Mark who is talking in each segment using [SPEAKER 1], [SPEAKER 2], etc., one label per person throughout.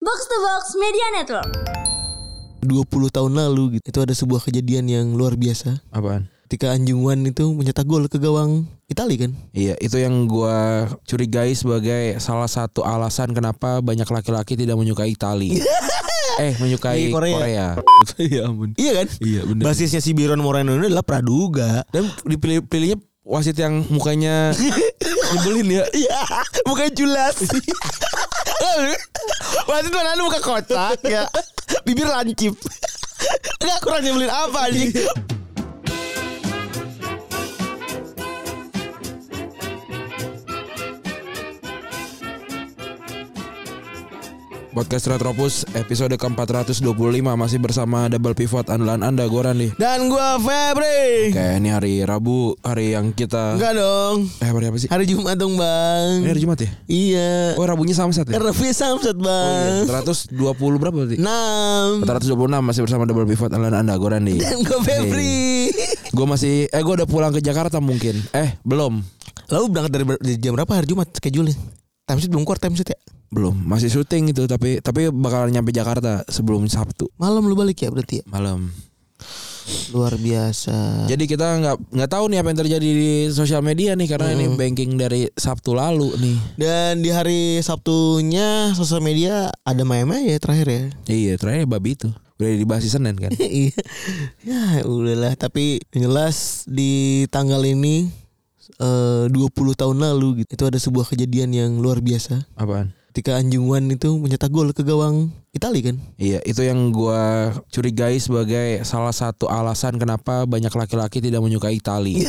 [SPEAKER 1] Box to Box Media Network.
[SPEAKER 2] 20 tahun lalu gitu. Itu ada sebuah kejadian yang luar biasa.
[SPEAKER 3] Apaan?
[SPEAKER 2] Ketika Anjung Wan itu mencetak gol ke gawang Italia kan?
[SPEAKER 3] Iya, itu yang gua curigai sebagai salah satu alasan kenapa banyak laki-laki tidak menyukai Itali. eh,
[SPEAKER 2] Di
[SPEAKER 3] menyukai Korea.
[SPEAKER 2] Korea.
[SPEAKER 3] Iya ampun.
[SPEAKER 2] Iya kan?
[SPEAKER 3] Iya, bener.
[SPEAKER 2] Basisnya si Biron Moreno ini adalah praduga.
[SPEAKER 3] Dan dipilih pilihnya wasit yang mukanya nyebelin ya.
[SPEAKER 2] Iya, bukan jelas. Wasit mana lu muka kocak ya. Bibir lancip. Enggak kurang nyebelin apa anjing.
[SPEAKER 3] Iya. Podcast Retropus episode ke-425 masih bersama double pivot andalan Anda Goran nih.
[SPEAKER 2] Dan gua Febri.
[SPEAKER 3] Kayak ini hari Rabu, hari yang kita
[SPEAKER 2] Enggak dong.
[SPEAKER 3] Eh, hari apa sih?
[SPEAKER 2] Hari Jumat dong,
[SPEAKER 3] Ini
[SPEAKER 2] Bang.
[SPEAKER 3] hari Jumat ya?
[SPEAKER 2] Iya.
[SPEAKER 3] Oh, Rabunya Samsat ya? Oh, iya.
[SPEAKER 2] Review Samsat, Bang.
[SPEAKER 3] 120 berapa berarti?
[SPEAKER 2] 6
[SPEAKER 3] 426 masih bersama double pivot andalan Anda Goran nih.
[SPEAKER 2] Dan gue Febri
[SPEAKER 3] Gue masih eh gue udah pulang ke Jakarta mungkin. Eh, belum.
[SPEAKER 2] Lalu berangkat dari, ber- dari jam berapa hari Jumat schedule-nya? Timesheet belum keluar timesheet ya?
[SPEAKER 3] Belum. Masih syuting itu tapi tapi bakalan nyampe Jakarta sebelum Sabtu
[SPEAKER 2] Malam lu balik ya berarti ya?
[SPEAKER 3] malam.
[SPEAKER 2] Luar biasa
[SPEAKER 3] Jadi kita nggak nggak tahu nih apa yang terjadi di sosial media nih karena ini banking dari Sabtu lalu nih.
[SPEAKER 2] Dan di hari Sabtunya sosial media ada meme ya terakhir ya?
[SPEAKER 3] Iya, terakhir babi itu. Udah dibahas di Senin kan.
[SPEAKER 2] Iya Ya udahlah tapi yang jelas di tanggal ini eh, 20 tahun lalu gitu Itu ada sebuah kejadian yang luar biasa
[SPEAKER 3] Apaan?
[SPEAKER 2] Ketika Anjung Wan itu mencetak gol ke gawang Italia kan?
[SPEAKER 3] Iya, itu yang gua curigai sebagai salah satu alasan kenapa banyak laki-laki tidak menyukai Itali.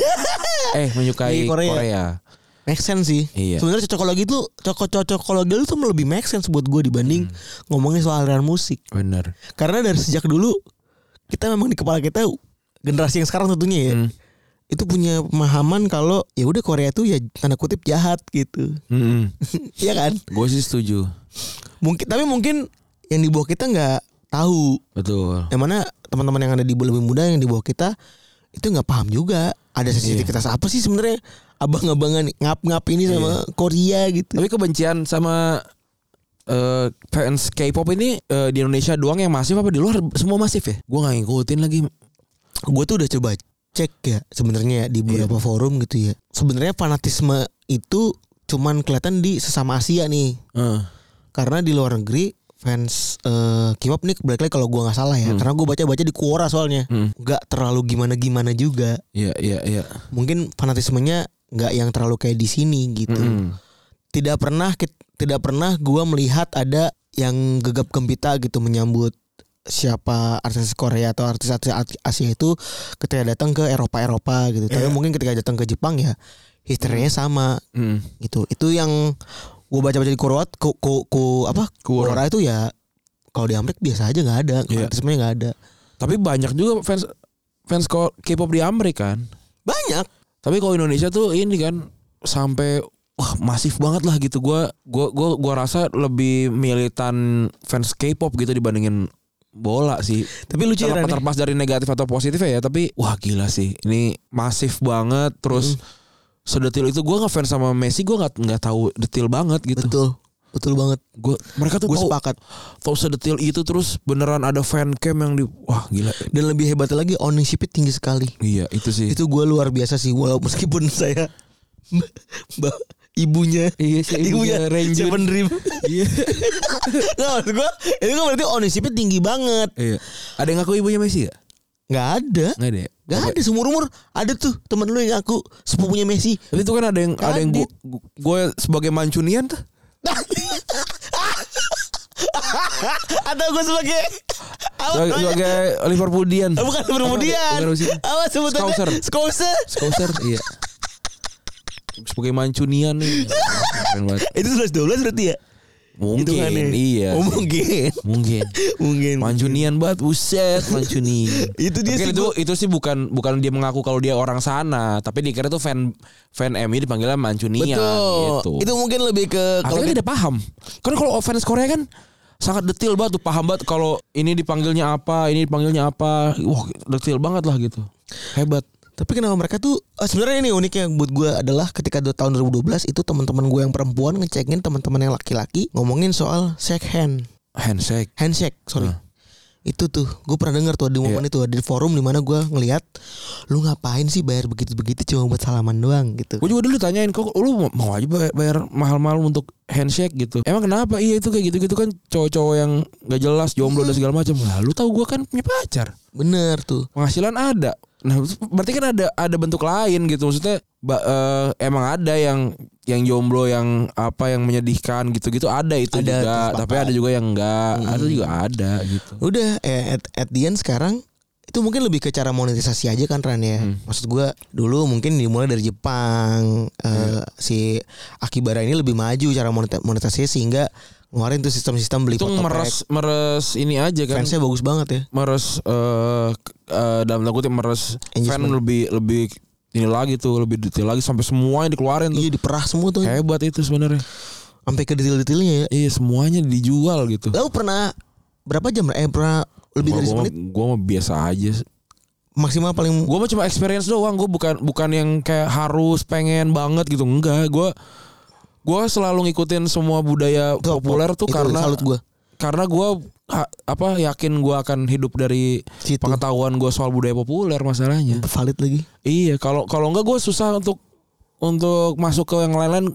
[SPEAKER 3] eh,
[SPEAKER 2] Di
[SPEAKER 3] menyukai Korea.
[SPEAKER 2] Korea. Make sense sih.
[SPEAKER 3] Iya.
[SPEAKER 2] Sebenarnya cocokologi itu cocokologi itu lebih make sense buat gue dibanding ngomongin soal aliran musik.
[SPEAKER 3] Bener.
[SPEAKER 2] Karena dari sejak dulu kita memang di kepala kita generasi yang sekarang tentunya ya. Itu punya pemahaman kalau ya udah Korea tuh ya tanda kutip jahat gitu.
[SPEAKER 3] Mm-mm.
[SPEAKER 2] Iya kan?
[SPEAKER 3] Gue sih setuju.
[SPEAKER 2] Mungkin tapi mungkin yang di bawah kita nggak tahu
[SPEAKER 3] Betul.
[SPEAKER 2] yang mana teman-teman yang ada di lebih muda yang di bawah kita itu nggak paham juga ada sensitivitas apa sih sebenarnya abang-abangan ngap-ngap ini sama Korea gitu.
[SPEAKER 3] Tapi kebencian sama eh, fans K-pop ini eh, di Indonesia doang yang masif apa di luar semua masif ya? Gue nggak ngikutin lagi.
[SPEAKER 2] gue tuh udah coba cek ya sebenarnya ya di beberapa forum gitu ya sebenarnya fanatisme itu cuman kelihatan di sesama Asia nih
[SPEAKER 3] Heeh.
[SPEAKER 2] karena di luar negeri fans eh K-pop nih balik lagi kalau gue nggak salah ya karena gue baca-baca di Quora soalnya
[SPEAKER 3] Hmm.
[SPEAKER 2] nggak terlalu gimana-gimana juga
[SPEAKER 3] Iya iya iya.
[SPEAKER 2] mungkin fanatismenya nggak yang terlalu kayak di sini gitu
[SPEAKER 3] Mm-mm.
[SPEAKER 2] tidak pernah kit- tidak pernah gua melihat ada yang gegap gempita gitu menyambut siapa artis Korea atau artis artis Asia itu ketika datang ke Eropa Eropa gitu. Tapi mungkin ketika datang ke Jepang ya historinya sama
[SPEAKER 3] Mm.
[SPEAKER 2] gitu. Itu yang gua baca baca di Korea ku, ku, ku- apa
[SPEAKER 3] Quora.
[SPEAKER 2] Korea itu ya kalau di Amerika biasa aja nggak ada,
[SPEAKER 3] Iya.
[SPEAKER 2] fanatismenya nggak ada.
[SPEAKER 3] Tapi banyak juga fans fans ko- K-pop di Amerika kan.
[SPEAKER 2] Banyak.
[SPEAKER 3] Tapi kalau Indonesia tuh ini kan sampai wah masif banget lah gitu. Gua gua gua gua rasa lebih militan fans K-pop gitu dibandingin bola sih.
[SPEAKER 2] Tapi lucu ya, Ran,
[SPEAKER 3] Terlepas,
[SPEAKER 2] ya.
[SPEAKER 3] terlepas dari negatif atau positif ya, tapi wah gila sih. Ini masif banget terus sedetil itu gua ngefans sama Messi gua nggak nggak tahu detail banget gitu.
[SPEAKER 2] Betul. Betul banget.
[SPEAKER 3] Gua mereka tuh
[SPEAKER 2] Gue
[SPEAKER 3] tahu,
[SPEAKER 2] sepakat.
[SPEAKER 3] tahu sedetil itu terus beneran ada fan cam yang di wah gila.
[SPEAKER 2] Dan lebih hebatnya lagi ownership tinggi sekali.
[SPEAKER 3] Iya, itu sih.
[SPEAKER 2] itu gue luar biasa sih walau meskipun saya mbak ibunya
[SPEAKER 3] Iya, si ibunya Renjun.
[SPEAKER 2] Seven Dream
[SPEAKER 3] Iya.
[SPEAKER 2] nah maksud gue itu kan berarti ownershipnya tinggi banget
[SPEAKER 3] iya. Ada yang ngaku ibunya Messi gak?
[SPEAKER 2] nggak ada
[SPEAKER 3] Nggak ada. ya?
[SPEAKER 2] nggak ada seumur umur ada tuh teman lu yang aku sepupunya Messi
[SPEAKER 3] Tapi itu kan ada yang ada yang
[SPEAKER 2] Kadit.
[SPEAKER 3] gue sebagai mancunian tuh.
[SPEAKER 2] atau gue sebagai apa
[SPEAKER 3] Sebagai,
[SPEAKER 2] namanya?
[SPEAKER 3] sebagai Liverpoolian.
[SPEAKER 2] Eh, bukan kemudian
[SPEAKER 3] Bukan Rusia.
[SPEAKER 2] apa sebutannya
[SPEAKER 3] Scouser.
[SPEAKER 2] Scouser.
[SPEAKER 3] Scouser, iya. Sebagai mancunian nih. Keren banget.
[SPEAKER 2] itu 11-12 berarti ya
[SPEAKER 3] Mungkin
[SPEAKER 2] Hitungannya.
[SPEAKER 3] iya.
[SPEAKER 2] oh, mungkin
[SPEAKER 3] Mungkin.
[SPEAKER 2] mungkin
[SPEAKER 3] Mancunian banget buset mancunian.
[SPEAKER 2] Itu dia
[SPEAKER 3] Tapi
[SPEAKER 2] sih,
[SPEAKER 3] itu itu sih bukan bukan dia mengaku kalau dia orang sana, tapi dikira tuh fan fan MU dipanggilnya
[SPEAKER 2] Iya,
[SPEAKER 3] mancunian
[SPEAKER 2] betul
[SPEAKER 3] gitu.
[SPEAKER 2] itu mungkin lebih ke
[SPEAKER 3] Kalau
[SPEAKER 2] kalau
[SPEAKER 3] tidak paham. Kan kalau fans Korea kan sangat detil banget tuh paham banget kalau ini dipanggilnya apa, ini dipanggilnya apa. Wah, detil banget lah gitu. Hebat.
[SPEAKER 2] Tapi kenapa mereka tuh eh, sebenarnya ini uniknya buat gue adalah ketika du- tahun 2012 itu teman-teman gue yang perempuan ngecengin teman-teman yang laki-laki ngomongin soal shake hand.
[SPEAKER 3] handshake
[SPEAKER 2] handshake sorry Iya.
[SPEAKER 3] Nah.
[SPEAKER 2] itu tuh gue pernah denger tuh di momen itu di forum dimana gue ngelihat lu ngapain sih bayar begitu begitu cuma buat salaman doang gitu
[SPEAKER 3] gue juga dulu tanyain kok lu mau- mau aja bayar, bayar mahal-mahal untuk handshake gitu emang kenapa iya itu kayak gitu-gitu kan cowok-cowok yang gak jelas jomblo dan segala macam lah lu tahu gue kan punya pacar
[SPEAKER 2] bener tuh
[SPEAKER 3] penghasilan ada nah berarti kan ada ada bentuk lain gitu maksudnya ba- eh, emang ada yang yang jomblo yang apa yang menyedihkan gitu-gitu ada itu
[SPEAKER 2] Ada,
[SPEAKER 3] juga
[SPEAKER 2] terus Hmm.
[SPEAKER 3] tapi
[SPEAKER 2] bapak.
[SPEAKER 3] ada juga yang enggak
[SPEAKER 2] Mm-mm.
[SPEAKER 3] ada juga ada gitu
[SPEAKER 2] udah eh, at, at the end sekarang itu mungkin lebih ke cara monetisasi aja kan Ran ya
[SPEAKER 3] Hmm.
[SPEAKER 2] maksud gua dulu mungkin dimulai dari Jepang eh,
[SPEAKER 3] Iya.
[SPEAKER 2] si Akibara ini lebih maju cara moneta- monetisasi sehingga ngeluarin tuh sistem-sistem beli
[SPEAKER 3] itu
[SPEAKER 2] foto
[SPEAKER 3] meres meres ini aja kan
[SPEAKER 2] fansnya bagus banget ya
[SPEAKER 3] meres eh, k- eh, dalam tanda kutip meres fan
[SPEAKER 2] Engagement.
[SPEAKER 3] lebih lebih ini lagi tuh lebih detail lagi sampai semuanya dikeluarin tuh
[SPEAKER 2] iya diperah semua tuh
[SPEAKER 3] hebat itu sebenarnya
[SPEAKER 2] sampai ke detail-detailnya ya
[SPEAKER 3] iya semuanya dijual gitu
[SPEAKER 2] Lalu pernah berapa jam? Eh pernah lebih dari
[SPEAKER 3] Gua- gua-
[SPEAKER 2] semenit
[SPEAKER 3] gua mah biasa aja
[SPEAKER 2] maksimal paling
[SPEAKER 3] gue mah cuma experience doang gue bukan bukan yang kayak harus pengen banget gitu enggak gue gue selalu ngikutin semua budaya
[SPEAKER 2] Itu-
[SPEAKER 3] populer tuh
[SPEAKER 2] itu
[SPEAKER 3] karena
[SPEAKER 2] salut gua.
[SPEAKER 3] karena gue apa yakin gue akan hidup dari
[SPEAKER 2] Situ.
[SPEAKER 3] pengetahuan gue soal budaya populer masalahnya
[SPEAKER 2] valid lagi.
[SPEAKER 3] iya kalau kalau enggak gue susah untuk untuk masuk ke yang lain-lain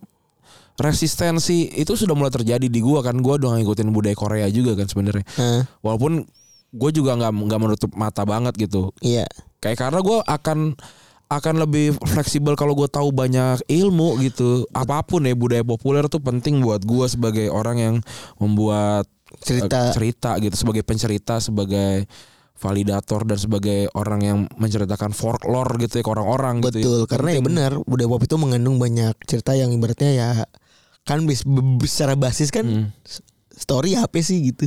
[SPEAKER 3] resistensi itu sudah mulai terjadi di gue kan gue udah ngikutin budaya Korea juga kan sebenarnya
[SPEAKER 2] Nah,
[SPEAKER 3] walaupun gue juga nggak nggak menutup mata banget gitu
[SPEAKER 2] iya.
[SPEAKER 3] kayak karena gue akan akan lebih fleksibel kalau gue tahu banyak ilmu gitu apapun ya budaya populer tuh penting buat gue sebagai orang yang membuat eh,
[SPEAKER 2] Cerita
[SPEAKER 3] cerita gitu sebagai pencerita sebagai validator dan sebagai orang yang menceritakan folklore gitu ya ke orang-orang gitu ya.
[SPEAKER 2] betul karena ya
[SPEAKER 3] Penting.
[SPEAKER 2] benar budaya pop itu mengandung banyak cerita yang ibaratnya ya kan bis- be- secara basis kan
[SPEAKER 3] Hmm.
[SPEAKER 2] story apa sih gitu.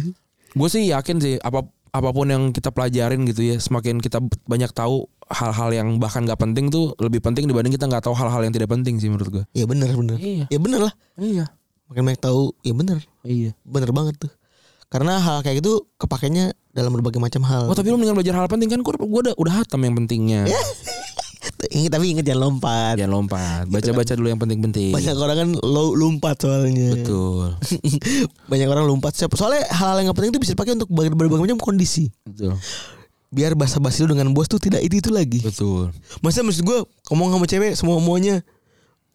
[SPEAKER 3] gue sih yakin sih apa apapun yang kita pelajarin gitu ya semakin kita b- banyak tahu hal-hal yang bahkan gak penting tuh lebih penting dibanding kita nggak tahu hal-hal yang tidak penting sih menurut gue
[SPEAKER 2] Ya benar benar.
[SPEAKER 3] Iya.
[SPEAKER 2] Ya benar lah.
[SPEAKER 3] iya
[SPEAKER 2] Makin banyak tahu ya benar.
[SPEAKER 3] iya
[SPEAKER 2] Benar banget tuh. Karena hal kayak gitu kepakainya dalam berbagai macam hal.
[SPEAKER 3] Oh tapi lu mendingan belajar hal penting kan Gue udah, udah hatam yang pentingnya
[SPEAKER 2] Iya. Ingat tapi ingat jangan lompat.
[SPEAKER 3] Jangan lompat
[SPEAKER 2] Iya,
[SPEAKER 3] Baca-baca dulu yang penting-penting
[SPEAKER 2] Banyak orang kan lo- lompat soalnya.
[SPEAKER 3] iya. Betul
[SPEAKER 2] banyak orang lompat siap. Soalnya hal-hal yang gak penting itu bisa dipakai untuk ber- berbagai macam kondisi.
[SPEAKER 3] Betul
[SPEAKER 2] Biar basa-basi lu dengan bos tuh tidak itu itu lagi.
[SPEAKER 3] Betul
[SPEAKER 2] Masa maksud gue ngomong sama cewek semua maunya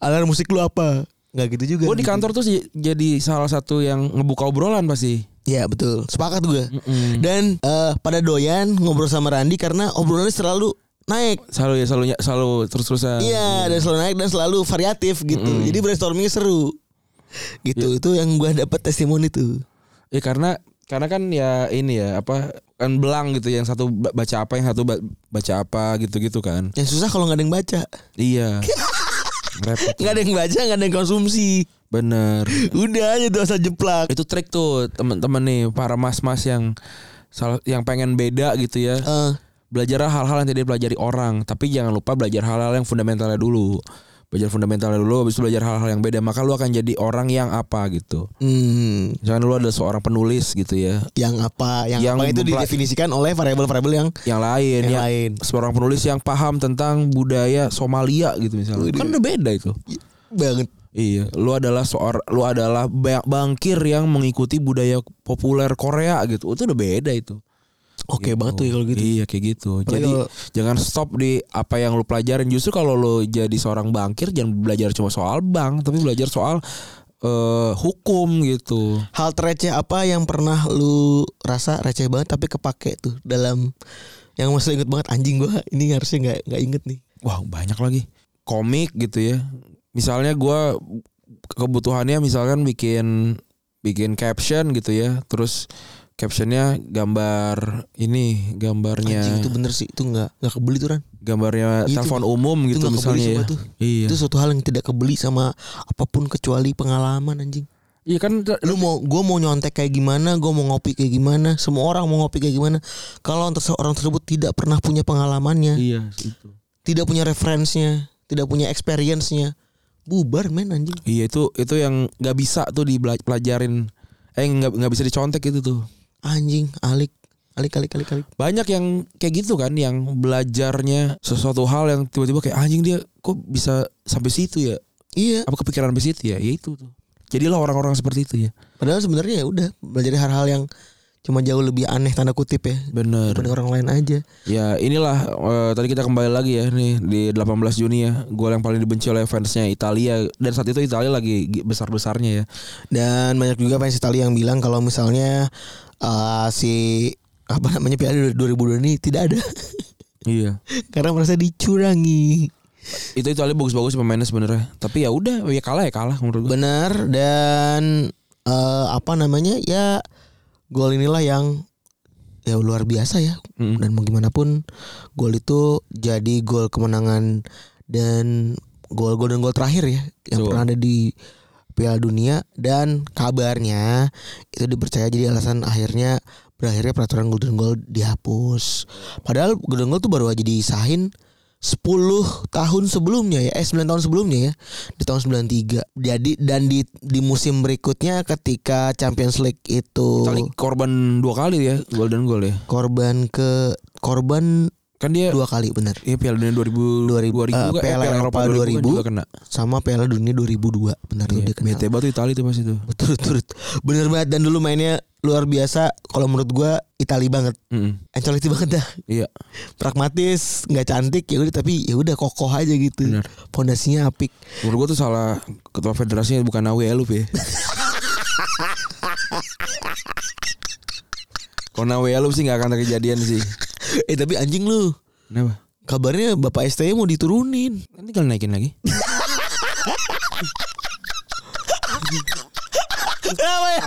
[SPEAKER 2] alar musik lu apa? Nggak gitu juga.
[SPEAKER 3] Gue Oh, di kantor tuh j- jadi salah satu yang ngebuka obrolan pasti
[SPEAKER 2] Ya betul. Sepakat gue.
[SPEAKER 3] Mm-mm.
[SPEAKER 2] Dan eh, pada doyan ngobrol sama Randi karena obrolannya selalu naik.
[SPEAKER 3] Selalu ya selalu, selalu terus-terusan
[SPEAKER 2] Iya, dan selalu naik dan selalu variatif gitu. Jadi brainstormingnya seru. Gitu.
[SPEAKER 3] Iya.
[SPEAKER 2] Itu yang gue dapat testimoni tuh.
[SPEAKER 3] Ya karena Karena kan ya ini ya Apa Kan belang gitu Yang satu ba- baca apa Yang satu ba- baca apa gitu-gitu kan
[SPEAKER 2] Yang susah kalau nggak ada yang baca.
[SPEAKER 3] Iya Repot
[SPEAKER 2] Nggak ada yang baca, nggak ada yang konsumsi.
[SPEAKER 3] Bener
[SPEAKER 2] Udah aja tuh asal jeplak.
[SPEAKER 3] itu trik tuh temen-temen nih para mas-mas yang salah yang pengen beda gitu ya
[SPEAKER 2] Eh,
[SPEAKER 3] belajar hal-hal yang tidak dipelajari orang tapi jangan lupa belajar hal-hal yang fundamentalnya dulu belajar fundamentalnya dulu habis itu belajar hal-hal yang beda maka lu akan jadi orang yang apa gitu
[SPEAKER 2] hmm,
[SPEAKER 3] misalkan lu adalah seorang penulis gitu ya
[SPEAKER 2] yang apa? Yang,
[SPEAKER 3] Yang
[SPEAKER 2] apa itu
[SPEAKER 3] mempelaj-
[SPEAKER 2] didefinisikan oleh variabel-variabel yang
[SPEAKER 3] yang lain
[SPEAKER 2] Yang
[SPEAKER 3] ya
[SPEAKER 2] lain.
[SPEAKER 3] seorang penulis yang paham tentang budaya Somalia gitu misalnya kan udah beda itu
[SPEAKER 2] banget.
[SPEAKER 3] iya lu adalah seorang lu adalah ba- bangkir yang mengikuti budaya populer Korea gitu itu udah beda itu
[SPEAKER 2] Oke banget tuh ya kalau gitu.
[SPEAKER 3] Iya kayak gitu.
[SPEAKER 2] Apalagi
[SPEAKER 3] jadi
[SPEAKER 2] kalau-
[SPEAKER 3] jangan stop di apa yang lu pelajarin. Justru kalau lu jadi seorang bankir jangan belajar cuma soal bank, tapi belajar soal eh, hukum gitu.
[SPEAKER 2] Hal receh apa yang pernah lu rasa receh banget tapi kepake tuh dalam yang masih inget banget anjing gua ini harusnya nggak nggak inget nih.
[SPEAKER 3] Wah, banyak lagi. Komik gitu ya. Misalnya gua kebutuhannya misalkan bikin bikin caption gitu ya. Terus captionnya gambar ini gambarnya
[SPEAKER 2] Anjing itu bener sih itu nggak nggak kebeli tuh kan.
[SPEAKER 3] gambarnya
[SPEAKER 2] Itu-
[SPEAKER 3] telepon umum
[SPEAKER 2] itu
[SPEAKER 3] gitu
[SPEAKER 2] nggak kebeli
[SPEAKER 3] misalnya ya.
[SPEAKER 2] sumpah tuh.
[SPEAKER 3] Iya.
[SPEAKER 2] Itu suatu hal yang tidak kebeli sama apapun kecuali pengalaman anjing.
[SPEAKER 3] Iya kan
[SPEAKER 2] Lu mau gua mau nyontek kayak gimana, gua mau ngopi kayak gimana, semua orang mau ngopi kayak gimana. Kalau terse- orang tersebut tidak pernah punya pengalamannya,
[SPEAKER 3] iya itu.
[SPEAKER 2] tidak punya referensinya, tidak punya experience-nya, bubar men anjing.
[SPEAKER 3] Iya itu itu yang nggak bisa tuh dipelajarin eh nggak nggak bisa dicontek itu tuh
[SPEAKER 2] Anjing, alik, alik, alik, alik, alik.
[SPEAKER 3] banyak yang kayak gitu kan yang belajarnya sesuatu hal yang tiba-tiba kayak anjing dia kok bisa sampai situ ya
[SPEAKER 2] Iya,
[SPEAKER 3] apa kepikiran sampai situ ya ya itu tuh Jadilah orang-orang seperti itu ya.
[SPEAKER 2] Padahal sebenarnya ya udah belajar hal-hal yang cuma jauh lebih aneh tanda kutip ya.
[SPEAKER 3] Bener.
[SPEAKER 2] Daripada orang lain aja.
[SPEAKER 3] Ya inilah eh, tadi kita kembali lagi ya nih di 18 Juni ya gol yang paling dibenci oleh fansnya Italia dan saat itu Italia lagi gi- besar-besarnya ya.
[SPEAKER 2] Dan banyak juga fans Italia yang bilang kalau misalnya eh, si apa namanya Piala 2002 ini tidak ada
[SPEAKER 3] Iya.
[SPEAKER 2] karena merasa dicurangi.
[SPEAKER 3] Itu Italia bagus-bagus pemainnya sebenarnya. Tapi ya udah ya kalah ya kalah menurut gue.
[SPEAKER 2] Benar dan eh, apa namanya ya gol inilah yang ya luar biasa ya.
[SPEAKER 3] Mm.
[SPEAKER 2] Dan mau gimana pun gol itu jadi gol kemenangan dan gol gol dan gol terakhir ya yang
[SPEAKER 3] Betul.
[SPEAKER 2] pernah ada di Piala Dunia dan kabarnya itu dipercaya jadi alasan akhirnya berakhirnya peraturan golden goal dihapus. Padahal golden goal tuh baru aja disahin 10 tahun sebelumnya ya, eh 9 tahun sebelumnya ya, di tahun 93. Jadi dan di di musim berikutnya ketika Champions League itu
[SPEAKER 3] Italia korban dua kali ya golden goal ya.
[SPEAKER 2] korban ke korban
[SPEAKER 3] Kan dia
[SPEAKER 2] dua kali bener
[SPEAKER 3] Iya Piala Dunia 2000
[SPEAKER 2] 2000, eh,
[SPEAKER 3] kan? Eh,
[SPEAKER 2] Piala Eropa
[SPEAKER 3] 2000 kan
[SPEAKER 2] 2000.
[SPEAKER 3] juga kena.
[SPEAKER 2] sama Piala Dunia 2002 benar tuh
[SPEAKER 3] Iya,
[SPEAKER 2] dia kenal.
[SPEAKER 3] bete banget tuh Italia itu pas itu.
[SPEAKER 2] Betul betul. Bener banget dan dulu mainnya luar biasa kalau menurut gua Itali banget.
[SPEAKER 3] Mm-mm.
[SPEAKER 2] Ancelotti banget dah.
[SPEAKER 3] Iya.
[SPEAKER 2] Pragmatis, nggak cantik ya udah tapi ya udah kokoh aja gitu.
[SPEAKER 3] Bener.
[SPEAKER 2] Pondasinya apik.
[SPEAKER 3] Menurut gua tuh salah ketua federasinya bukan Awi Elup ya. Kalau Nawi Elup sih nggak akan terjadian sih.
[SPEAKER 2] Eh tapi anjing lu.
[SPEAKER 3] Kenapa?
[SPEAKER 2] Kabarnya Bapak STY mau diturunin.
[SPEAKER 3] Nanti kalau naikin lagi.
[SPEAKER 2] Kenapa ya?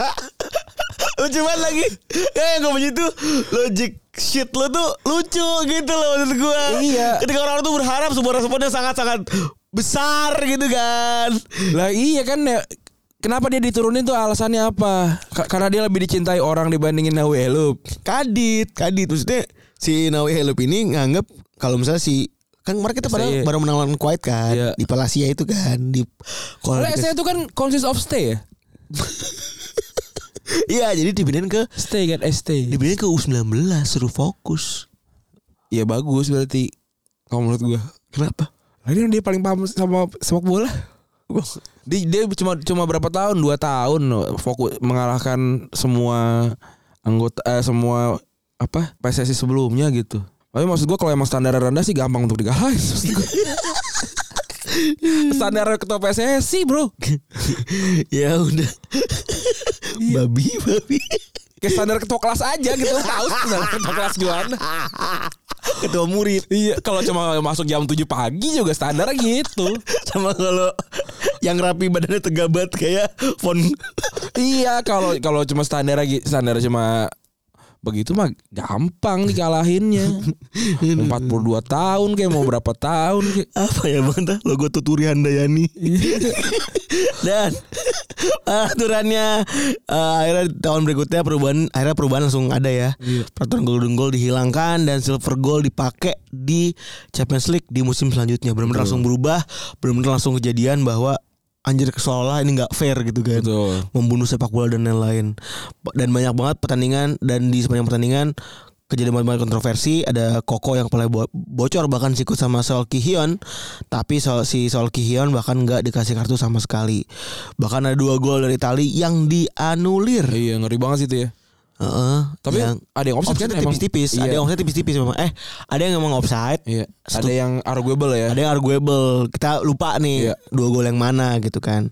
[SPEAKER 2] Lucu banget lagi. Kayak yang ngomong itu logic shit lu tuh lucu gitu loh maksud gua.
[SPEAKER 3] Iya.
[SPEAKER 2] Ketika orang tuh berharap sebuah responnya sangat-sangat besar gitu kan.
[SPEAKER 3] lah iya kan ya. Kenapa dia diturunin tuh alasannya apa? Ka- karena dia lebih dicintai orang dibandingin Nawi Elup.
[SPEAKER 2] Kadit, kadit maksudnya si Nawi Helop ini nganggap kalau misalnya si kan kemarin kita pada
[SPEAKER 3] Saya-
[SPEAKER 2] baru menang lawan Kuwait kan
[SPEAKER 3] Iya.
[SPEAKER 2] di Palasia itu kan di kalau
[SPEAKER 3] Lah saya itu kan consist of stay ya.
[SPEAKER 2] iya jadi dipindahin ke
[SPEAKER 3] Stay kan ST.
[SPEAKER 2] dipindahin ke U19 suruh fokus
[SPEAKER 3] Ya bagus berarti kalau menurut gua.
[SPEAKER 2] kenapa
[SPEAKER 3] Lagi dia paling paham sama sepak bola. Dia, dia cuma cuma berapa tahun? Dua tahun loh, fokus mengalahkan semua anggota eh, semua apa PSSI sebelumnya gitu. Tapi maksud gua kalau emang standar rendah sih gampang untuk digalahin. maksud gua. standar ketua PSSI bro.
[SPEAKER 2] ya udah babi babi
[SPEAKER 3] Kayak standar ketua kelas aja gitu Lu tahu standar ketua kelas gimana.
[SPEAKER 2] ketua murid
[SPEAKER 3] Iya, kalau cuma masuk jam 7 pagi juga standar gitu.
[SPEAKER 2] sama kalau yang rapi badannya tegabat kayak font
[SPEAKER 3] Iya kalau kalau cuma standar lagi standar cuma begitu mah gampang dikalahinnya. 42 tahun kayak mau berapa tahun kayak.
[SPEAKER 2] apa ya bang tah logo tuturi handayani dan ah, aturannya eh, akhirnya tahun berikutnya perubahan akhirnya perubahan langsung ada ya peraturan golden goal dihilangkan dan silver goal dipakai di Champions League di musim selanjutnya benar-benar langsung berubah benar-benar langsung kejadian bahwa anjir seolah ini nggak fair gitu kan
[SPEAKER 3] Betul.
[SPEAKER 2] membunuh sepak bola dan lain-lain dan banyak banget pertandingan dan di sepanjang pertandingan kejadian banyak kontroversi ada Koko yang paling bo- bocor bahkan sikut sama Sol Kihion tapi Sol- si Sol Kihion bahkan nggak dikasih kartu sama sekali bahkan ada dua gol dari Itali yang dianulir
[SPEAKER 3] Iya ngeri banget sih itu ya.
[SPEAKER 2] Heeh,
[SPEAKER 3] Tapi
[SPEAKER 2] yang
[SPEAKER 3] ada yang offside
[SPEAKER 2] offside
[SPEAKER 3] kan emang.
[SPEAKER 2] tipis-tipis ada
[SPEAKER 3] Iya.
[SPEAKER 2] yang offside tipis-tipis memang eh ada yang emang offside
[SPEAKER 3] Iya. Ada yang arguable ya.
[SPEAKER 2] ada yang arguable kita lupa nih
[SPEAKER 3] Iya.
[SPEAKER 2] dua gol yang mana gitu kan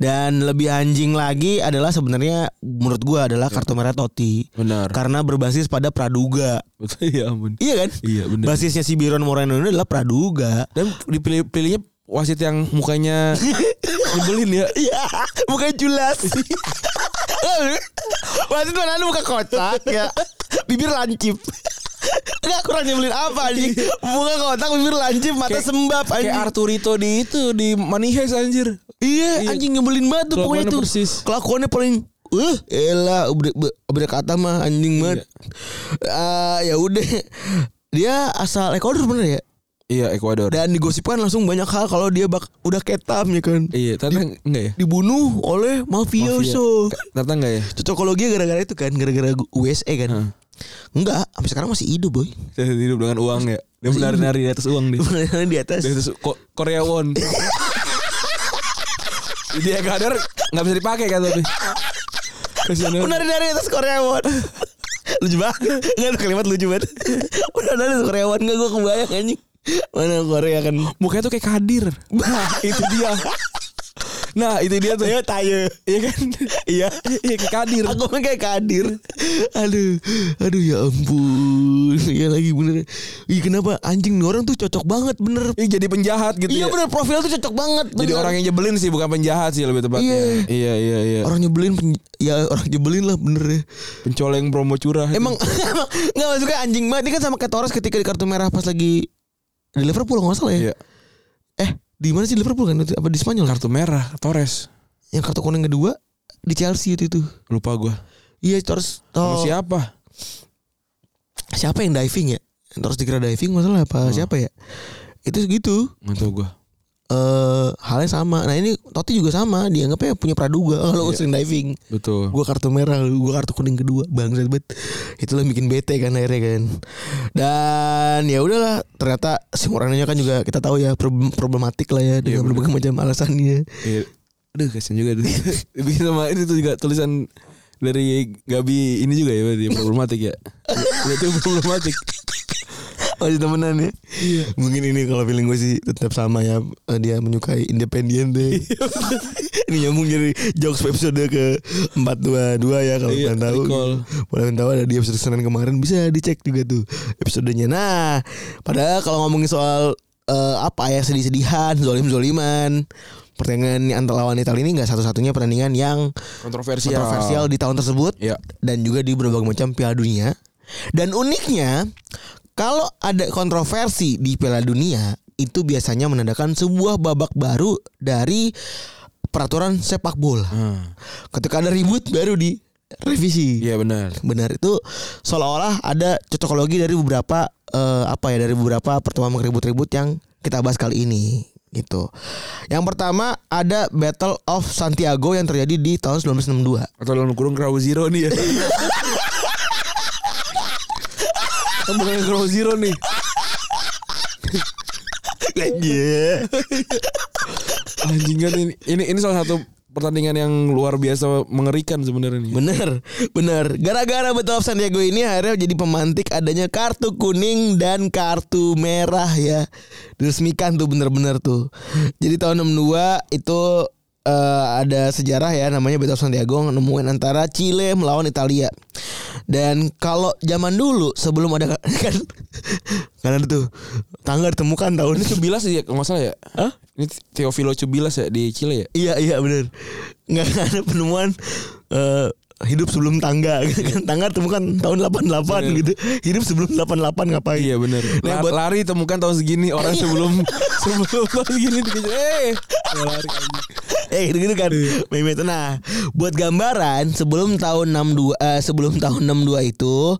[SPEAKER 2] dan lebih anjing lagi adalah sebenarnya menurut gua adalah
[SPEAKER 3] Iya.
[SPEAKER 2] kartu merah Totti
[SPEAKER 3] Benar.
[SPEAKER 2] karena berbasis pada praduga
[SPEAKER 3] Betul ya ampun.
[SPEAKER 2] iya kan
[SPEAKER 3] Iya benar.
[SPEAKER 2] basisnya si Biron Moreno ini adalah praduga
[SPEAKER 3] Dan dipilih pilihnya wasit yang mukanya nyebelin ya.
[SPEAKER 2] Iya, bukan jelas. Wasit mana lu buka kotak ya. Bibir lancip. Enggak kurang nyebelin apa anjing. Buka kotak bibir lancip, mata
[SPEAKER 3] Iya. Kayak-
[SPEAKER 2] sembab anjing.
[SPEAKER 3] Kayak Arturito di itu di Money Heist anjir.
[SPEAKER 2] Iya,
[SPEAKER 3] Iya.
[SPEAKER 2] anjing nyebelin banget tuh pokoknya
[SPEAKER 3] Kelakuannya
[SPEAKER 2] tuh.
[SPEAKER 3] persis.
[SPEAKER 2] Kelakuannya paling Eh, elah ber, kata mah
[SPEAKER 3] Iya.
[SPEAKER 2] anjing banget. Ah, ya udah. Dia asal Ecuador bener ya.
[SPEAKER 3] Iya Ecuador.
[SPEAKER 2] Dan digosipkan langsung banyak hal kalau dia bak udah ketam ya kan.
[SPEAKER 3] Iya, ternyata enggak ya?
[SPEAKER 2] Dibunuh oleh mafioso.
[SPEAKER 3] Ternyata enggak ya?
[SPEAKER 2] Cocokologi gara-gara itu kan, gara-gara USA kan.
[SPEAKER 3] Heeh.
[SPEAKER 2] Enggak, sampai sekarang masih hidup, boy.
[SPEAKER 3] Dia hidup dengan uang ya. Dia menari-nari di atas uang dia.
[SPEAKER 2] Beneran di atas.
[SPEAKER 3] Dia terus Ko- Korea Won. Ide yang kader nggak bisa dipakai kan tapi. Kasihan ya. banget.
[SPEAKER 2] Benar dari atas Koreawan. lucu banget. Enggak tuh kalimat lucu banget. Benar dari atas Koreawan enggak gua kebayang anjing. Mana Korea kan.
[SPEAKER 3] Mukanya tuh kayak kadir. Nah, itu dia. Nah, itu dia tuh.
[SPEAKER 2] Tayo tayo.
[SPEAKER 3] Iya kan?
[SPEAKER 2] Iya.
[SPEAKER 3] Iya kayak kadir.
[SPEAKER 2] Aku mah kayak kadir. Aduh, aduh ya ampun. Iya lagi bener. Ih kenapa anjing nih orang tuh cocok banget bener.
[SPEAKER 3] Iya jadi penjahat gitu
[SPEAKER 2] Iya
[SPEAKER 3] ya.
[SPEAKER 2] bener profilnya tuh cocok banget.
[SPEAKER 3] Jadi
[SPEAKER 2] bener.
[SPEAKER 3] orang yang nyebelin sih bukan penjahat sih lebih tepatnya.
[SPEAKER 2] Iya.
[SPEAKER 3] Iya iya iya.
[SPEAKER 2] orang nyebelin pen- ya orang nyebelin lah bener ya.
[SPEAKER 3] Pencoleng promo curah. gitu.
[SPEAKER 2] Emang emang nggak maksudnya anjing banget ini kan sama kayak Torres ketika di kartu merah pas lagi di Liverpool nggak salah ya.
[SPEAKER 3] Iya.
[SPEAKER 2] Eh di mana sih Liverpool kan? Apa di Spanyol?
[SPEAKER 3] Kartu merah Torres.
[SPEAKER 2] Yang kartu kuning kedua di Chelsea itu itu.
[SPEAKER 3] Lupa gua.
[SPEAKER 2] Iya Torres.
[SPEAKER 3] Sama
[SPEAKER 2] Oh,
[SPEAKER 3] siapa?
[SPEAKER 2] siapa yang diving ya? Torres dikira diving masalah
[SPEAKER 3] Oh.
[SPEAKER 2] apa? Siapa ya? Itu segitu.
[SPEAKER 3] Enggak tahu gua.
[SPEAKER 2] eh halnya sama. Nah ini Totti juga sama. Dianggapnya punya praduga kalau
[SPEAKER 3] Iya.
[SPEAKER 2] sering diving.
[SPEAKER 3] Betul.
[SPEAKER 2] Gua kartu merah, lu. gua kartu kuning kedua, bangsat banget. Itulah yang bikin bete kan akhirnya kan. Dan ya udahlah, ternyata si Mourinho kan juga kita tahu ya prob- problematik lah ya dengan berbagai macam alasannya.
[SPEAKER 3] Iya. Aduh kasihan juga tuh. Bikin sama itu tuh juga tulisan dari Gabi ini juga ya berarti problematik ya. Berarti problematik.
[SPEAKER 2] Masih temenan ya.
[SPEAKER 3] Iya.
[SPEAKER 2] Mungkin ini kalau feeling gue sih tetap sama ya eh, dia menyukai independen deh.
[SPEAKER 3] Iya,
[SPEAKER 2] ini nyambung jadi jokes episode ke 422 ya kalau
[SPEAKER 3] Iya,
[SPEAKER 2] kalian tahu.
[SPEAKER 3] recall.
[SPEAKER 2] Kalau kalian tahu ada di episode Senin kemarin bisa dicek juga tuh episodenya. Nah, padahal kalau ngomongin soal eh, apa ya sedih-sedihan, zolim-zoliman, pertandingan antara lawan Italia ini nggak satu-satunya pertandingan yang
[SPEAKER 3] Kontroversial.
[SPEAKER 2] kontroversial di tahun tersebut
[SPEAKER 3] Iya.
[SPEAKER 2] dan juga di berbagai macam Piala Dunia. Dan uniknya, kalau ada kontroversi di Piala Dunia, itu biasanya menandakan sebuah babak baru dari peraturan sepak bola. Ketika ada ribut baru di revisi.
[SPEAKER 3] Ah. Iya benar.
[SPEAKER 2] Benar itu seolah-olah ada cocokologi dari beberapa eh, apa ya dari beberapa pertemuan ribut-ribut yang kita bahas kali ini gitu. Yang pertama ada Battle of Santiago yang terjadi di tahun 1962.
[SPEAKER 3] Atau dalam kurung Crow Zero nih ya. Bukan Crow Zero nih.
[SPEAKER 2] Iya.
[SPEAKER 3] Anjing kan ini. Ini ini salah satu pertandingan yang luar biasa mengerikan sebenarnya nih.
[SPEAKER 2] Bener, bener. Gara-gara Battle of Santiago ini akhirnya jadi pemantik adanya kartu kuning dan kartu merah ya. Diresmikan tuh bener-bener tuh. Jadi tahun 62 itu eh, ada sejarah ya namanya Battle of Santiago nemuin antara Chile melawan Italia. Dan kalau zaman dulu sebelum ada kan karena itu tanggal ditemukan tahun
[SPEAKER 3] Ini Cubilas ya kalau nggak salah ya.
[SPEAKER 2] Hah?
[SPEAKER 3] Ini Teofilo Cubilas ya di Chile ya.
[SPEAKER 2] Iya iya benar. Nggak ada penemuan eh, hidup sebelum tangga gitu kan. Tangga temukan tahun 88
[SPEAKER 3] Bener.
[SPEAKER 2] gitu. Hidup sebelum 88 ngapain?
[SPEAKER 3] Iya benar.
[SPEAKER 2] Nah, buat-
[SPEAKER 3] lari temukan tahun segini orang sebelum sebelum tahun segini dikejar. Eh, lari anjing. Iya.
[SPEAKER 2] Eh gitu, kan. Meme itu. Nah, buat gambaran sebelum tahun 62 eh, sebelum tahun 62 itu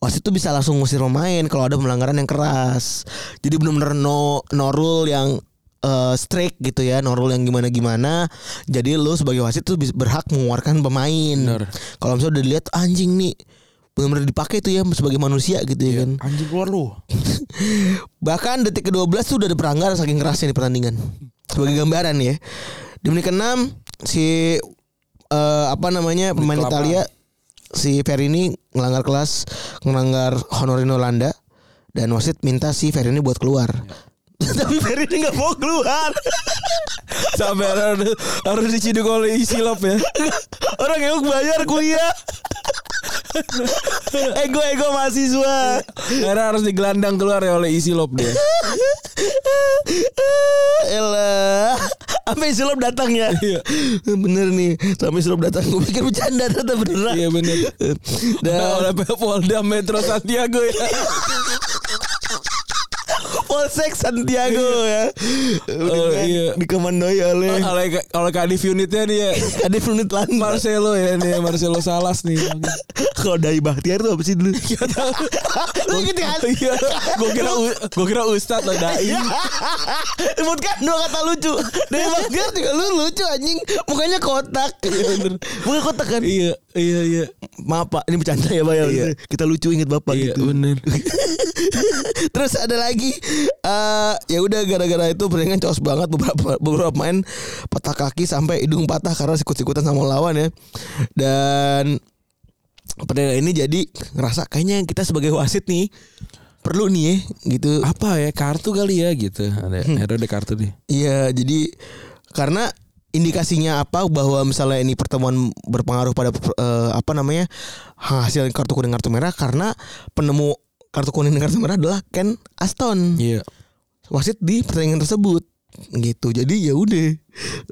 [SPEAKER 2] wasit itu bisa langsung ngusir pemain kalau ada pelanggaran yang keras. Jadi benar-benar no no rule yang eh, strict gitu ya, no rule yang gimana-gimana. Jadi lu sebagai wasit tuh bis- berhak mengeluarkan pemain.
[SPEAKER 3] Bener.
[SPEAKER 2] Kalau misalnya udah dilihat "Ah, anjing nih benar-benar dipakai tuh ya sebagai manusia gitu ya kan.
[SPEAKER 3] Anjing keluar lu.
[SPEAKER 2] Bahkan detik ke-12 tuh udah ada peranggaran saking kerasnya di pertandingan. Sebagai gambaran ya. Di menit ke-6 si eh, apa namanya pemain
[SPEAKER 3] ke-8.
[SPEAKER 2] Italia si Ferini ngelanggar kelas, ngelanggar Honorino Landa dan wasit minta si Ferini buat keluar.
[SPEAKER 3] Ya.
[SPEAKER 2] Tapi Ferini nggak mau keluar.
[SPEAKER 3] Sampai harus, harus diciduk oleh silap ya.
[SPEAKER 2] Orang yang bayar kuliah. ego ego mahasiswa.
[SPEAKER 3] Karena harus digelandang keluar ya oleh silap dia.
[SPEAKER 2] Elah Sampai sulap datang ya
[SPEAKER 3] Iya.
[SPEAKER 2] Bener nih Sampai sulap datang Gue pikir bercanda ternyata beneran
[SPEAKER 3] Iya benar.
[SPEAKER 2] Dan
[SPEAKER 3] Oleh Polda Metro Santiago ya.
[SPEAKER 2] Polsek Santiago ya
[SPEAKER 3] Iya. Oh, iya. Oh,
[SPEAKER 2] Dikemandoi oleh
[SPEAKER 3] Oleh oleh kadif unitnya dia
[SPEAKER 2] Ada menit lantai
[SPEAKER 3] Marcelo ya nih Marcelo Salas nih.
[SPEAKER 2] Kalau dari Bahtiar tuh apa sih dulu Lu inget kan
[SPEAKER 3] Iya, gue kira gue kira Ustadz lah dai.
[SPEAKER 2] Sebut kan dua kata lucu
[SPEAKER 3] Iya.
[SPEAKER 2] Dari Bahtiar juga lu lucu anjing Mukanya kotak Bukan kotak kan
[SPEAKER 3] Iya, iya, iya.
[SPEAKER 2] Maaf pak Ini bercanda ya pak ya
[SPEAKER 3] Iya.
[SPEAKER 2] Kita lucu inget bapak
[SPEAKER 3] Iya,
[SPEAKER 2] gitu
[SPEAKER 3] bener.
[SPEAKER 2] Terus ada lagi eh ya udah gara-gara itu pertandingan chaos banget beberapa beberapa main patah kaki sampai hidung patah karena sikut-sikutan sama lawan ya. Dan pertandingan ini jadi ngerasa kayaknya kita sebagai wasit nih perlu nih ya gitu.
[SPEAKER 3] Apa ya kartu kali ya gitu. Ada ada, ada kartu nih.
[SPEAKER 2] Iya, jadi karena indikasinya apa bahwa misalnya ini pertemuan berpengaruh pada eh, apa namanya hasil kartu kuning kartu merah karena penemu kartu kuning dan kartu merah adalah Ken Aston
[SPEAKER 3] Iya.
[SPEAKER 2] wasit di pertandingan tersebut gitu. Jadi ya udah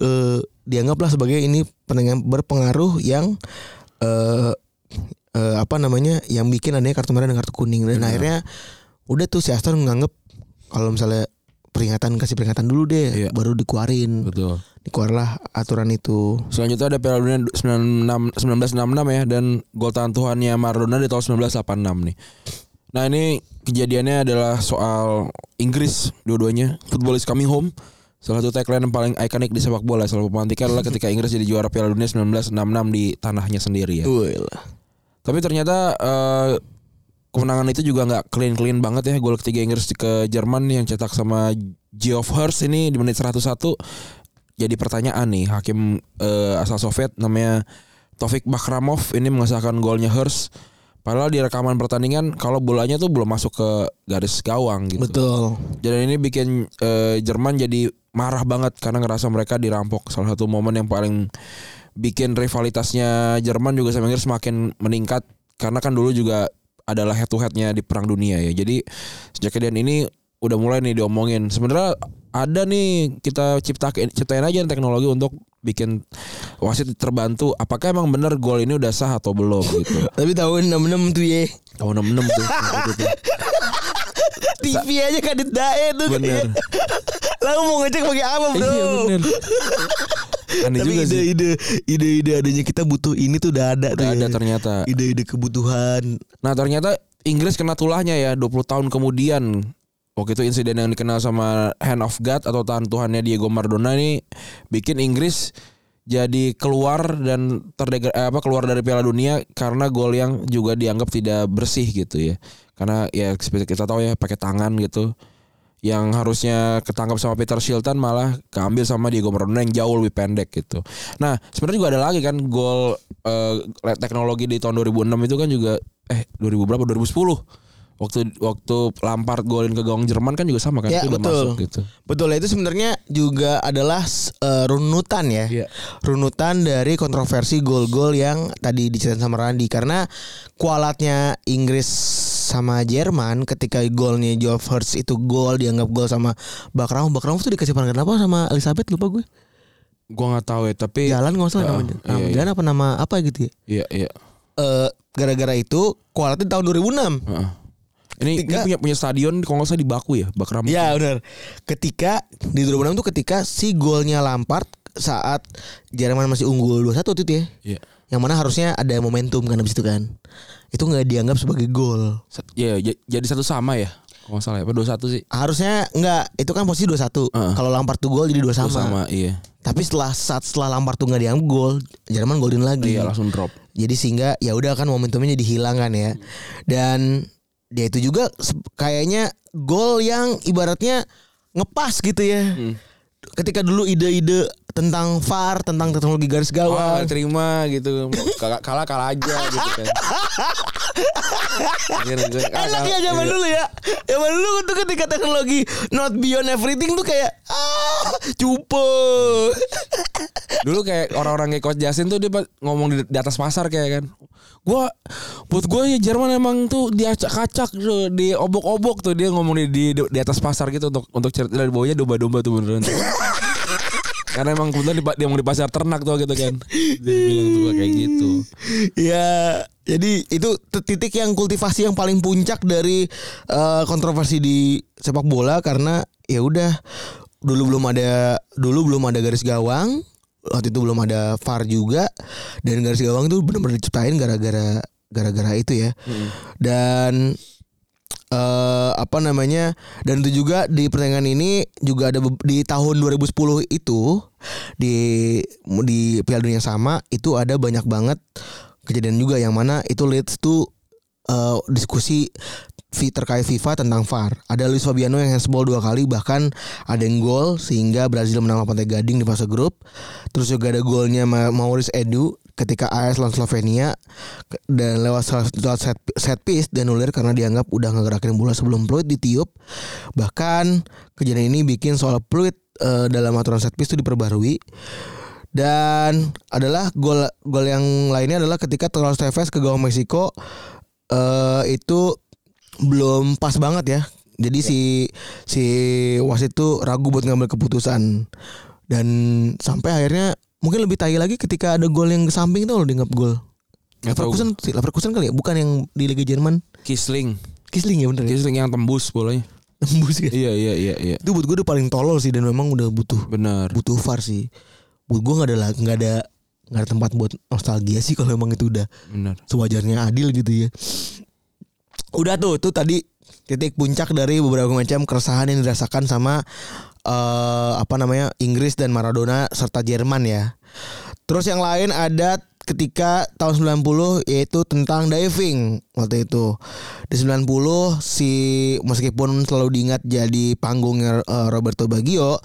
[SPEAKER 2] eh, dianggaplah sebagai ini pertandingan berpengaruh yang eh eh, apa namanya yang bikin adanya kartu merah dan kartu kuning dan akhirnya udah tuh si Aston menganggap kalau misalnya peringatan kasih peringatan dulu deh
[SPEAKER 3] Iya.
[SPEAKER 2] baru dikeluarin
[SPEAKER 3] Betul.
[SPEAKER 2] dikeluarlah aturan itu.
[SPEAKER 3] Selanjutnya ada Piala Dunia 96 1966 ya dan gol tahan Tuhannya Maradona di tahun 1986 nih. Nah ini kejadiannya adalah soal Inggris dua-duanya Football is coming home Salah satu tagline yang paling ikonik di sepak bola Selama pemantikan adalah ketika Inggris jadi juara Piala Dunia 1966 di tanahnya sendiri ya Tapi ternyata eh, kemenangan itu juga nggak clean clean banget ya. Gol ketiga Inggris ke Jerman yang cetak sama Geoff Hurst ini di menit 101 jadi pertanyaan nih hakim eh, asal Soviet namanya Taufik Bakramov ini mengesahkan golnya Hurst. Padahal di rekaman pertandingan kalau bolanya tuh belum masuk ke garis gawang gitu.
[SPEAKER 2] Betul.
[SPEAKER 3] Dan ini bikin eh, Jerman jadi marah banget karena ngerasa mereka dirampok. Salah satu momen yang paling bikin rivalitasnya Jerman juga sama Inggris semakin meningkat karena kan dulu juga adalah head to headnya di perang dunia ya. Jadi sejak kejadian ini udah mulai nih diomongin. Sebenarnya ada nih kita cipta ciptain aja teknologi untuk bikin wasit terbantu. Apakah emang bener gol ini udah sah atau belum gitu?
[SPEAKER 2] Tapi tahun 66 tuh ya.
[SPEAKER 3] Tahun 66 Oh, tuh. waktu itu.
[SPEAKER 2] TV aja kadet dae tuh.
[SPEAKER 3] Bener.
[SPEAKER 2] Lalu mau ngecek pakai apa, Bro?
[SPEAKER 3] Iya bener. Aneh
[SPEAKER 2] Tapi
[SPEAKER 3] juga sih.
[SPEAKER 2] ide-ide ide-ide adanya kita butuh ini tuh udah ada
[SPEAKER 3] Udah
[SPEAKER 2] tuh.
[SPEAKER 3] ada
[SPEAKER 2] ya.
[SPEAKER 3] ternyata.
[SPEAKER 2] Ide-ide kebutuhan.
[SPEAKER 3] Nah ternyata Inggris kena tulahnya ya 20 tahun kemudian. Waktu itu insiden yang dikenal sama Hand of God atau tahan Tuhannya Diego Maradona ini bikin Inggris jadi keluar dan terdegra- eh, apa keluar dari Piala Dunia karena gol yang juga dianggap tidak bersih gitu ya. Karena ya seperti kita tahu ya pakai tangan gitu yang harusnya ketangkap sama Peter Shilton malah keambil sama Diego Maradona yang jauh lebih pendek gitu. Nah, sebenarnya juga ada lagi kan gol eh, teknologi di tahun 2006 itu kan juga eh 2000 berapa 2010 waktu waktu Lampard golin ke gawang Jerman kan juga sama kan
[SPEAKER 2] Ya,
[SPEAKER 3] itu udah
[SPEAKER 2] betul.
[SPEAKER 3] masuk gitu.
[SPEAKER 2] Betul, itu sebenarnya juga adalah s- eh, runutan ya.
[SPEAKER 3] Iya.
[SPEAKER 2] Runutan dari kontroversi gol-gol yang tadi diceritain sama Randi karena kualatnya Inggris sama Jerman ketika golnya Geoff Hurst itu gol dianggap gol sama Bakram. Bakram tuh dikasih pangkat apa sama Elizabeth lupa gue.
[SPEAKER 3] Gua nggak tahu ya tapi
[SPEAKER 2] Jalan nggak salah
[SPEAKER 3] Ah,
[SPEAKER 2] namanya.
[SPEAKER 3] iya,
[SPEAKER 2] Nama
[SPEAKER 3] iya.
[SPEAKER 2] jalan apa nama apa gitu ya.
[SPEAKER 3] iya iya.
[SPEAKER 2] Eh, gara-gara itu kualatnya tahun 2006.
[SPEAKER 3] Heeh. Ini, ini
[SPEAKER 2] Tiga-
[SPEAKER 3] punya punya stadion kalau nggak salah di Baku ya, Bakram.
[SPEAKER 2] Ya benar. Ketika di 2006 tuh ketika si golnya Lampard saat Jerman masih unggul 2-1 tuh ya.
[SPEAKER 3] Iya.
[SPEAKER 2] Yang mana harusnya ada momentum kan abis itu kan. Itu nggak dianggap sebagai gol.
[SPEAKER 3] Sa- Iya, j- jadi satu sama ya. Kalau nggak salah ya, apa 21 sih?
[SPEAKER 2] Harusnya nggak itu kan posisi 2-1.
[SPEAKER 3] Heeh.
[SPEAKER 2] Kalau Lampard tuh gol jadi 2 sama.
[SPEAKER 3] Dua sama iya.
[SPEAKER 2] Tapi setelah saat setelah Lampard tuh nggak dianggap gol, Jerman golin lagi.
[SPEAKER 3] Iya, langsung drop.
[SPEAKER 2] Jadi sehingga ya udah kan momentumnya jadi hilang kan ya. Dan dia itu juga se- kayaknya gol yang ibaratnya ngepas gitu ya. Ketika dulu ide-ide tentang VAR, tentang teknologi garis
[SPEAKER 3] Wah,
[SPEAKER 2] gawang.
[SPEAKER 3] nggak Oh, terima gitu. Kalah kalah, kalah aja gitu kan.
[SPEAKER 2] Enak ya zaman
[SPEAKER 3] Iya.
[SPEAKER 2] dulu ya. Zaman dulu tuh ketika teknologi not beyond everything tuh kayak ah cupu.
[SPEAKER 3] Dulu kayak orang-orang kayak Coach Jasin tuh dia pas- ngomong di, di atas pasar kayak kan. Gua buat gua ya Jerman emang tuh diacak-acak tuh, diobok-obok tuh dia ngomong di, di di atas pasar gitu untuk untuk cerita dari bawahnya domba-domba tuh beneran. tuh. Karena emang kebetulan di, dia ngomong di pasar ternak tuh gitu kan. Dia bilang tuh kayak gitu.
[SPEAKER 2] ya, jadi itu t- titik yang kultivasi yang paling puncak dari eh, kontroversi di sepak bola karena ya udah dulu belum ada dulu belum ada garis gawang, waktu itu belum ada VAR juga dan garis gawang itu benar-benar diciptain gara-gara gara-gara itu ya. Dan eh apa namanya dan itu juga di pertandingan ini juga ada be- di tahun 2010 itu di di Piala Dunia yang sama itu ada banyak banget kejadian juga yang mana itu leads to eh, diskusi fi- terkait FIFA tentang VAR. Ada Luis Fabiano yang handsball dua kali bahkan ada yang gol sehingga Brazil menang lawan Pantai Gading di fase grup. Terus juga ada golnya Ma- Maurice Edu ketika AS lawan Slovenia ke- dan lewat salah- lewat set, set piece dan nulir karena dianggap udah ngegerakin bola sebelum Pluit ditiup. Bahkan kejadian ini bikin soal Pluit eh, dalam aturan set piece itu diperbarui. Dan adalah gol gol yang lainnya adalah ketika Torres Tevez ke gawang Meksiko eh itu belum pas banget ya. Jadi si si wasit tuh ragu buat ngambil keputusan. Dan sampai akhirnya mungkin lebih tai lagi ketika ada gol yang ke samping itu loh dianggap gol.
[SPEAKER 3] Nggak tahu
[SPEAKER 2] Leverkusen, Leverkusen kali ya, bukan yang di Liga Jerman.
[SPEAKER 3] Kisling.
[SPEAKER 2] Kisling ya bener ya.
[SPEAKER 3] Kisling yang tembus bolanya.
[SPEAKER 2] Tembus ya.
[SPEAKER 3] iya iya iya iya.
[SPEAKER 2] Itu buat gue udah paling tolol sih dan memang udah butuh
[SPEAKER 3] Benar.
[SPEAKER 2] butuh VAR sih. Buat gue nggak ada la- nggak ada nggak ada tempat buat nostalgia sih kalau emang itu udah
[SPEAKER 3] Benar.
[SPEAKER 2] sewajarnya adil gitu ya. Udah tuh itu tadi titik puncak dari beberapa macam keresahan yang dirasakan sama eh apa namanya Inggris dan Maradona serta Jerman ya. Terus yang lain ada ketika tahun 90 yaitu tentang diving waktu itu. Di 90 si meskipun selalu diingat jadi panggungnya eh, Roberto Baggio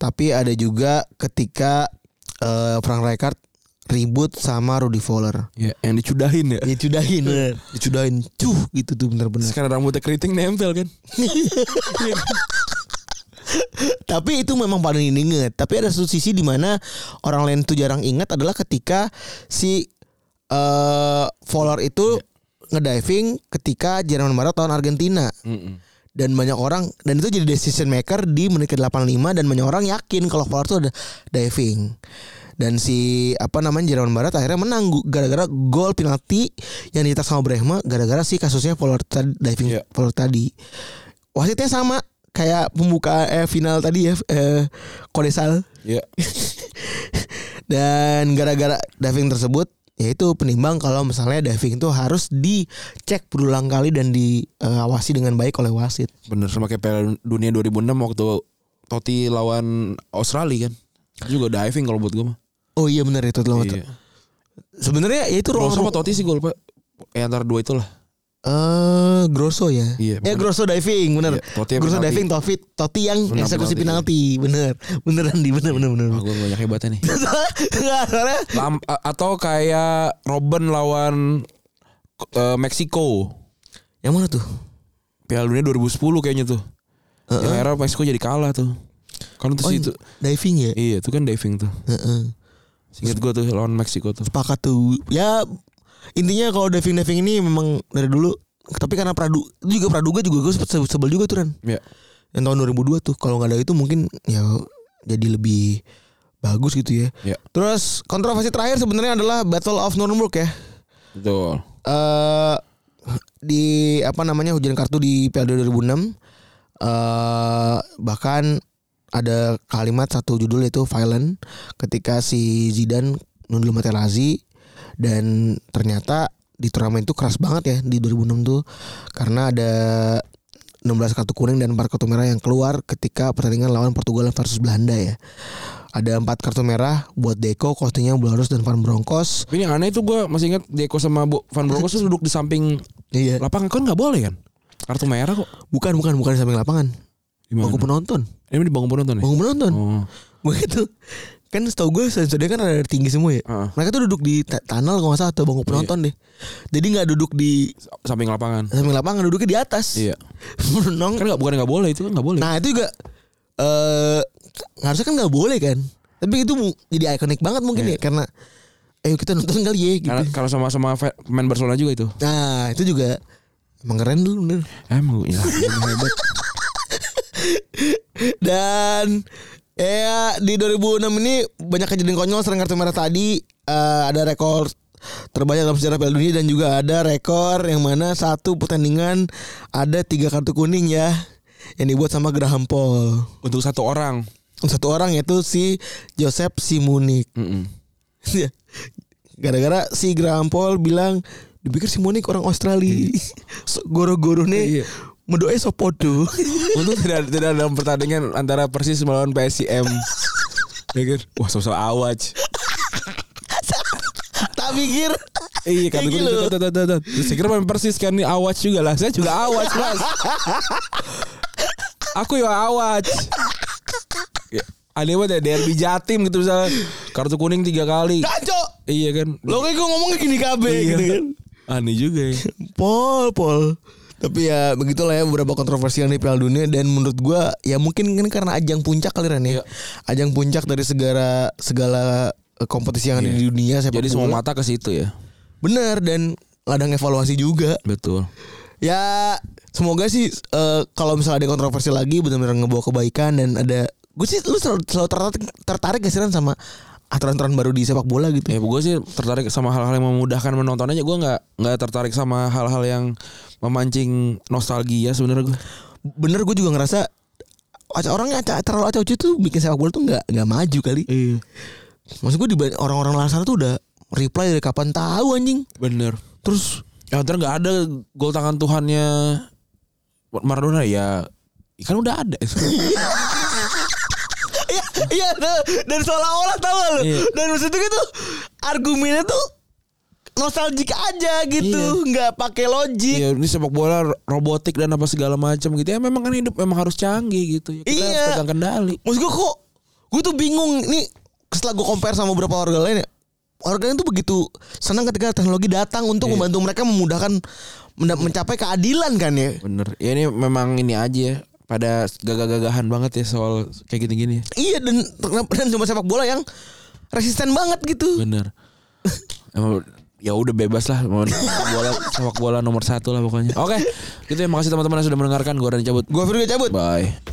[SPEAKER 2] tapi ada juga ketika eh, Frank Rijkaard ribut sama Rudy Fowler.
[SPEAKER 3] Ya, yang dicudahin ya.
[SPEAKER 2] Dicudahin bener Dicudahin Cuh gitu tuh bener-bener
[SPEAKER 3] Sekarang rambutnya keriting nempel kan.
[SPEAKER 2] Tapi itu memang paling diinget Tapi ada satu sisi dimana Orang lain tuh jarang ingat adalah ketika Si eh Fowler itu Ngediving ketika Jerman Barat tahun Argentina
[SPEAKER 3] Mm-mm.
[SPEAKER 2] Dan banyak orang Dan itu jadi decision maker di menit ke 85 Dan banyak orang yakin kalau Fowler tuh ada diving dan si apa namanya Jerman Barat akhirnya menang gu- gara-gara gol penalti yang ditak sama Brehme gara-gara si kasusnya Fowler tadi- diving
[SPEAKER 3] Iya.
[SPEAKER 2] Fowler tadi. Wasitnya sama kayak pembuka eh, final tadi ya eh, Kodesal
[SPEAKER 3] Ya.
[SPEAKER 2] dan gara-gara diving tersebut yaitu penimbang kalau misalnya diving itu harus dicek berulang kali dan diawasi dengan baik oleh wasit.
[SPEAKER 3] Bener sama kayak Piala Dunia 2006 waktu Totti lawan Australia kan. Itu Juga diving kalau buat gue mah.
[SPEAKER 2] Oh iya benar itu loh.
[SPEAKER 3] Iya.
[SPEAKER 2] Sebenarnya ya itu
[SPEAKER 3] Kalau
[SPEAKER 2] ruang-
[SPEAKER 3] sama Totti sih gue lupa. Eh antara dua itulah.
[SPEAKER 2] Eh, Grosso ya. ya
[SPEAKER 3] Iya, bener.
[SPEAKER 2] Grosso diving, bener.
[SPEAKER 3] Iya, Totti yang
[SPEAKER 2] Grosso
[SPEAKER 3] penalti.
[SPEAKER 2] diving, Totti, Totti yang
[SPEAKER 3] Menang
[SPEAKER 2] eksekusi penalti, bener, beneran di, bener, bener, bener.
[SPEAKER 3] Wah gue banyak hebatnya nih.
[SPEAKER 2] Nggak, soalnya
[SPEAKER 3] Lam- a- atau kayak Robben lawan eh, Meksiko.
[SPEAKER 2] yang mana tuh? Eh,
[SPEAKER 3] Piala Dunia 2010 kayaknya tuh.
[SPEAKER 2] Heeh.
[SPEAKER 3] Yang era Meksiko jadi kalah tuh. Kan itu
[SPEAKER 2] Oh,
[SPEAKER 3] sih itu.
[SPEAKER 2] diving ya. Eh,
[SPEAKER 3] Iya, itu kan diving tuh.
[SPEAKER 2] Heeh.
[SPEAKER 3] Ingat gue tuh lawan Meksiko tuh.
[SPEAKER 2] Sepakat tuh. Ya intinya kalau diving diving ini memang dari dulu. Tapi karena Pradu itu juga Praduga juga gue sempet sebel juga tuh Ren.
[SPEAKER 3] Ya.
[SPEAKER 2] Yang tahun 2002 tuh kalau nggak ada itu mungkin ya jadi lebih bagus gitu ya.
[SPEAKER 3] Ya.
[SPEAKER 2] Terus kontroversi terakhir sebenarnya adalah Battle of Nuremberg ya.
[SPEAKER 3] Betul.
[SPEAKER 2] eh di apa namanya hujan kartu di Piala 2006 eh bahkan ada kalimat satu judul itu violent ketika si Zidane nundul Materazzi dan ternyata di turnamen itu keras banget ya di 2006 tuh karena ada 16 kartu kuning dan 4 kartu merah yang keluar ketika pertandingan lawan Portugal versus Belanda ya. Ada 4 kartu merah buat Deco, Coutinho, Blarus dan Van Bronckhorst.
[SPEAKER 3] Tapi yang aneh itu gue masih ingat Deco sama Bo- Van Bronckhorst tuh duduk di samping
[SPEAKER 2] Iya.
[SPEAKER 3] lapangan kan nggak boleh kan? Kartu merah kok.
[SPEAKER 2] Bukan bukan bukan di samping lapangan.
[SPEAKER 3] Gimana?
[SPEAKER 2] Aku penonton.
[SPEAKER 3] Ini di bangun penonton ya?
[SPEAKER 2] Bangun penonton.
[SPEAKER 3] Oh.
[SPEAKER 2] Gue gitu. Kan setahu gue stadion kan ada tinggi semua ya.
[SPEAKER 3] Heeh. Iya.
[SPEAKER 2] Mereka tuh duduk di ta- tunnel kalau nggak salah atau bangku penonton deh. Jadi nggak duduk di
[SPEAKER 3] Samping lapangan.
[SPEAKER 2] samping lapangan, duduknya di atas.
[SPEAKER 3] Iya.
[SPEAKER 2] Menong.
[SPEAKER 3] Kan nggak bukan nggak boleh itu kan nggak boleh.
[SPEAKER 2] Nah itu juga eh harusnya kan nggak boleh kan. Tapi itu mu- jadi ikonik banget mungkin ya karena ayo kita nonton kali ya gitu.
[SPEAKER 3] Iya. Karena kalau sama-sama fe- pemain Barcelona juga itu.
[SPEAKER 2] Nah itu juga emang keren dulu bener.
[SPEAKER 3] Emang gila, emang hebat.
[SPEAKER 2] Dan ya di 2006 ini banyak kejadian konyol sering kartu merah tadi eh, ada rekor terbanyak dalam sejarah Piala Dunia dan juga ada rekor yang mana satu pertandingan ada tiga kartu kuning ya yang dibuat sama Graham Paul.
[SPEAKER 3] Untuk satu orang.
[SPEAKER 2] Satu orang yaitu si Joseph Simunik. Ya,
[SPEAKER 3] Mm-mm.
[SPEAKER 2] Gara-gara si Graham Paul bilang dipikir Simunik orang Australia. So, Goro-goro nih
[SPEAKER 3] Iya.
[SPEAKER 2] mendoe sopodo.
[SPEAKER 3] Untung tidak tidak dalam pertandingan antara Persis melawan PSIM. Ya kan? Wah, sosok awaj.
[SPEAKER 2] tak pikir Kayak
[SPEAKER 3] Iya kata gue
[SPEAKER 2] gitu.
[SPEAKER 3] "Tut, tut, tut, tut, tut." Terus Saya kira main persis kan nih awas juga lah Saya juga awas mas Aku ya awas Ya, Aneh banget ya derby jatim gitu misalnya Kartu kuning tiga kali
[SPEAKER 2] Kacau.
[SPEAKER 3] Iya kan
[SPEAKER 2] Lo kayak gue ngomongnya gini kabe
[SPEAKER 3] Iya.
[SPEAKER 2] gitu kan.
[SPEAKER 3] Aneh juga ya
[SPEAKER 2] Pol, pol. Tapi ya begitulah ya beberapa kontroversial di Piala Dunia dan menurut gua ya mungkin kan karena ajang puncak kali Ren ya.
[SPEAKER 3] Iya.
[SPEAKER 2] Ajang puncak dari segala segala eh, kompetisi yang ada di dunia sepak
[SPEAKER 3] Iya. Jadi semua
[SPEAKER 2] bola.
[SPEAKER 3] mata ke situ ya
[SPEAKER 2] Bener dan ladang evaluasi juga.
[SPEAKER 3] Betul
[SPEAKER 2] Ya semoga sih eh, kalau misalnya ada kontroversi lagi benar-benar ngebawa kebaikan dan ada gue sih lu selalu, selalu tertarik tertarik gak sih Ren sama aturan-aturan baru di sepak bola gitu.
[SPEAKER 3] Ya gue sih tertarik sama hal-hal yang memudahkan menonton aja Gue gak, nggak tertarik sama hal-hal yang memancing nostalgia sebenarnya gue
[SPEAKER 2] Bener gue juga ngerasa aca- orangnya aca- terlalu acau tuh bikin sepak bola tuh nggak nggak maju kali.
[SPEAKER 3] Iya
[SPEAKER 2] Maksud gue di orang-orang luar sana tuh udah reply dari kapan tahu anjing.
[SPEAKER 3] Bener
[SPEAKER 2] Terus
[SPEAKER 3] Ya ntar nggak ada gol tangan Tuhannya Maradona ya kan udah ada.
[SPEAKER 2] iya iya nah, dan seolah-olah tahu lu.
[SPEAKER 3] Iya.
[SPEAKER 2] Dan maksud gue tuh argumennya tuh nostalgik aja gitu, nggak pakai logik.
[SPEAKER 3] Iya, ini sepak bola robotik dan apa segala macam gitu. Ya memang kan hidup memang harus canggih gitu. Ya, kita
[SPEAKER 2] Iya.
[SPEAKER 3] harus pegang kendali.
[SPEAKER 2] Maksud gue kok gue tuh bingung nih setelah gue compare sama beberapa warga lain ya. Warga lain tuh begitu senang ketika teknologi datang
[SPEAKER 3] Iya.
[SPEAKER 2] untuk membantu mereka memudahkan menda- mencapai keadilan kan ya.
[SPEAKER 3] Bener. Ya ini memang ini aja ya. Pada gagah-gagahan banget ya soal kayak gini-gini. ya.
[SPEAKER 2] Iya dan dan cuma sepak bola yang resisten banget gitu.
[SPEAKER 3] Bener. Emang ya udah bebas lah mau sepak bola sepak bola nomor satu lah pokoknya. Oke, gitu ya. Makasih teman-teman yang sudah mendengarkan. Gue Rani cabut.
[SPEAKER 2] Gue Firga cabut.
[SPEAKER 3] Bye.